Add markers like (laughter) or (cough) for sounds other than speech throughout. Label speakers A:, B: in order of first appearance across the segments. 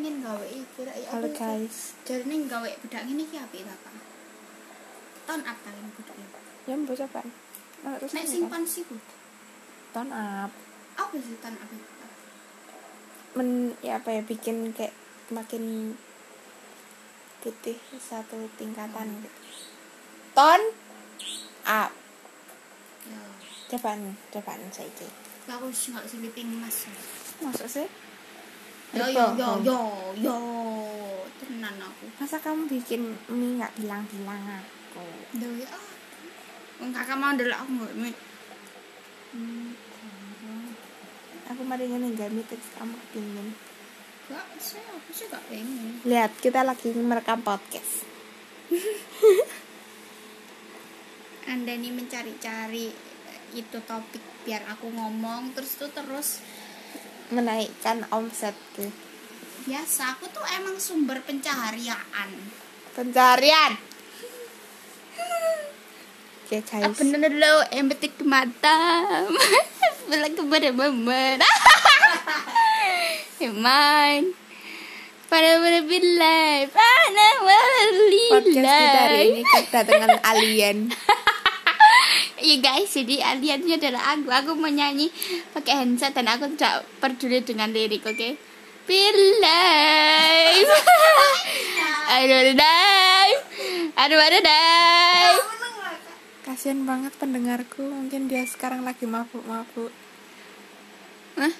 A: gawe iku rek ya
B: Halo guys,
A: jarine gawe budak ngene iki apik ta Pak ton up ta ini budak ini
B: ya mbok coba. Nah, terus
A: nek sing pan sih Bu.
B: ton up
A: apa sih ton up itu
B: men ya apa ya bikin kayak makin putih satu tingkatan gitu. Ton up.
A: ya
B: Cobaan, cobaan saiki.
A: Ya, aku sih nggak silipin mas Ya,
B: Masuk sih?
A: yo yo yo yo yo ya, tenan aku
B: Masa kamu bikin mie nggak bilang-bilang aku?
A: Dewi ah. Wong kakak mau ndelok aku nggak mi.
B: Aku mari ngene nggak mie terus kamu kepingin.
A: Gak sih, aku sih gak pengen.
B: Lihat, kita lagi merekam podcast.
A: Anda ini mencari-cari eh, itu topik biar aku ngomong terus tuh terus
B: Menaikkan omsetku.
A: biasa aku tuh emang sumber pencaharian
B: Pencarian. Oke,
A: Apa
B: guys.
A: bener lo emetik mata (laughs) bilang kepada (laughs) mama Eman para para bilai para para
B: Podcast kita hari ini
A: (laughs)
B: kedatangan alien.
A: Iya guys, jadi aliannya adalah aku. Aku mau nyanyi pakai handset dan aku tidak peduli dengan lirik, oke? Believe, (laughs) I don't die, I don't wanna die.
B: Kasihan banget pendengarku, mungkin dia sekarang lagi mabuk-mabuk.
A: Hah?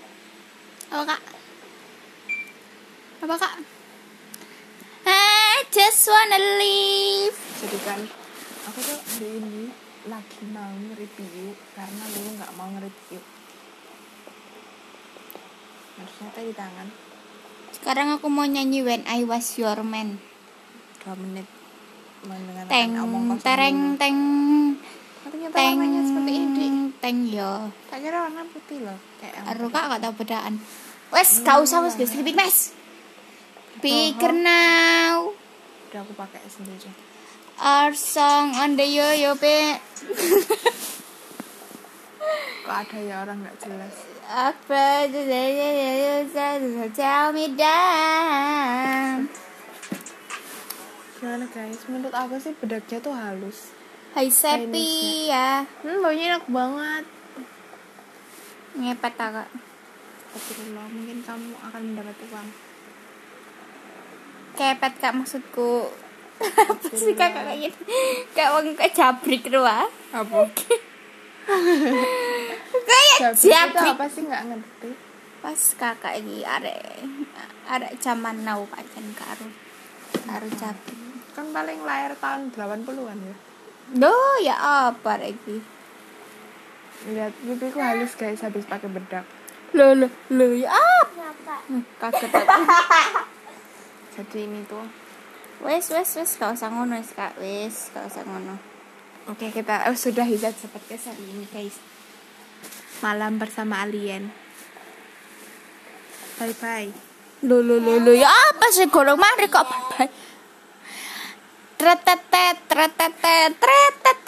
A: Apa kak? Apa kak? I just wanna live.
B: Jadi kan aku tuh hari ini lagi mau nge-review karena lu nggak mau nge-review. Harusnya tadi di tangan
A: Sekarang aku mau nyanyi When I Was Your Man.
B: dua menit mendengarkan
A: Teng,
B: omong kosong.
A: tereng, teng,
B: Oh, Ternyata
A: teng,
B: warnanya seperti ini.
A: teng yo.
B: Tak kira warna putih loh. Kayak yang
A: Aru kak gak tau bedaan Wes gak usah wes guys sleeping mas Pikir now
B: udah aku pakai sendiri.
A: Our song on the yo-yo pe
B: Kok ada ya orang nggak jelas.
A: Apa Tell me down
B: Gimana guys? Menurut aku sih bedaknya tuh halus.
A: Hai ya. Sepia
B: Hmm, baunya enak banget.
A: Ngepet tak kak
B: Astagfirullah, mungkin kamu akan mendapat uang.
A: Kepet kak maksudku Apa (laughs) sih kakak kayak gini Kayak wong kayak jabrik ah. (laughs) ruah
B: Apa?
A: Kayak
B: Jabrik itu
A: jabrik
B: apa sih nggak ngerti?
A: pas kakak iki arek arek zaman now pancen karo karo cabi
B: Kan paling lahir tahun 80-an ya.
A: do ya apa arek iki
B: Lihat pipiku halus guys habis pakai bedak.
A: lo lo lo ya apa Hmm,
B: Kaget aku. Jadi ini tuh.
A: wes wes wes gak usah ngono wes kak wes gak usah ngono
B: Oke, kita oh, sudah hijab seperti hari ini guys. Malam bersama alien. Bye bye.
A: lo lo lo lo ya apa sih gorong mari kok bye tretetet tretetet tretetet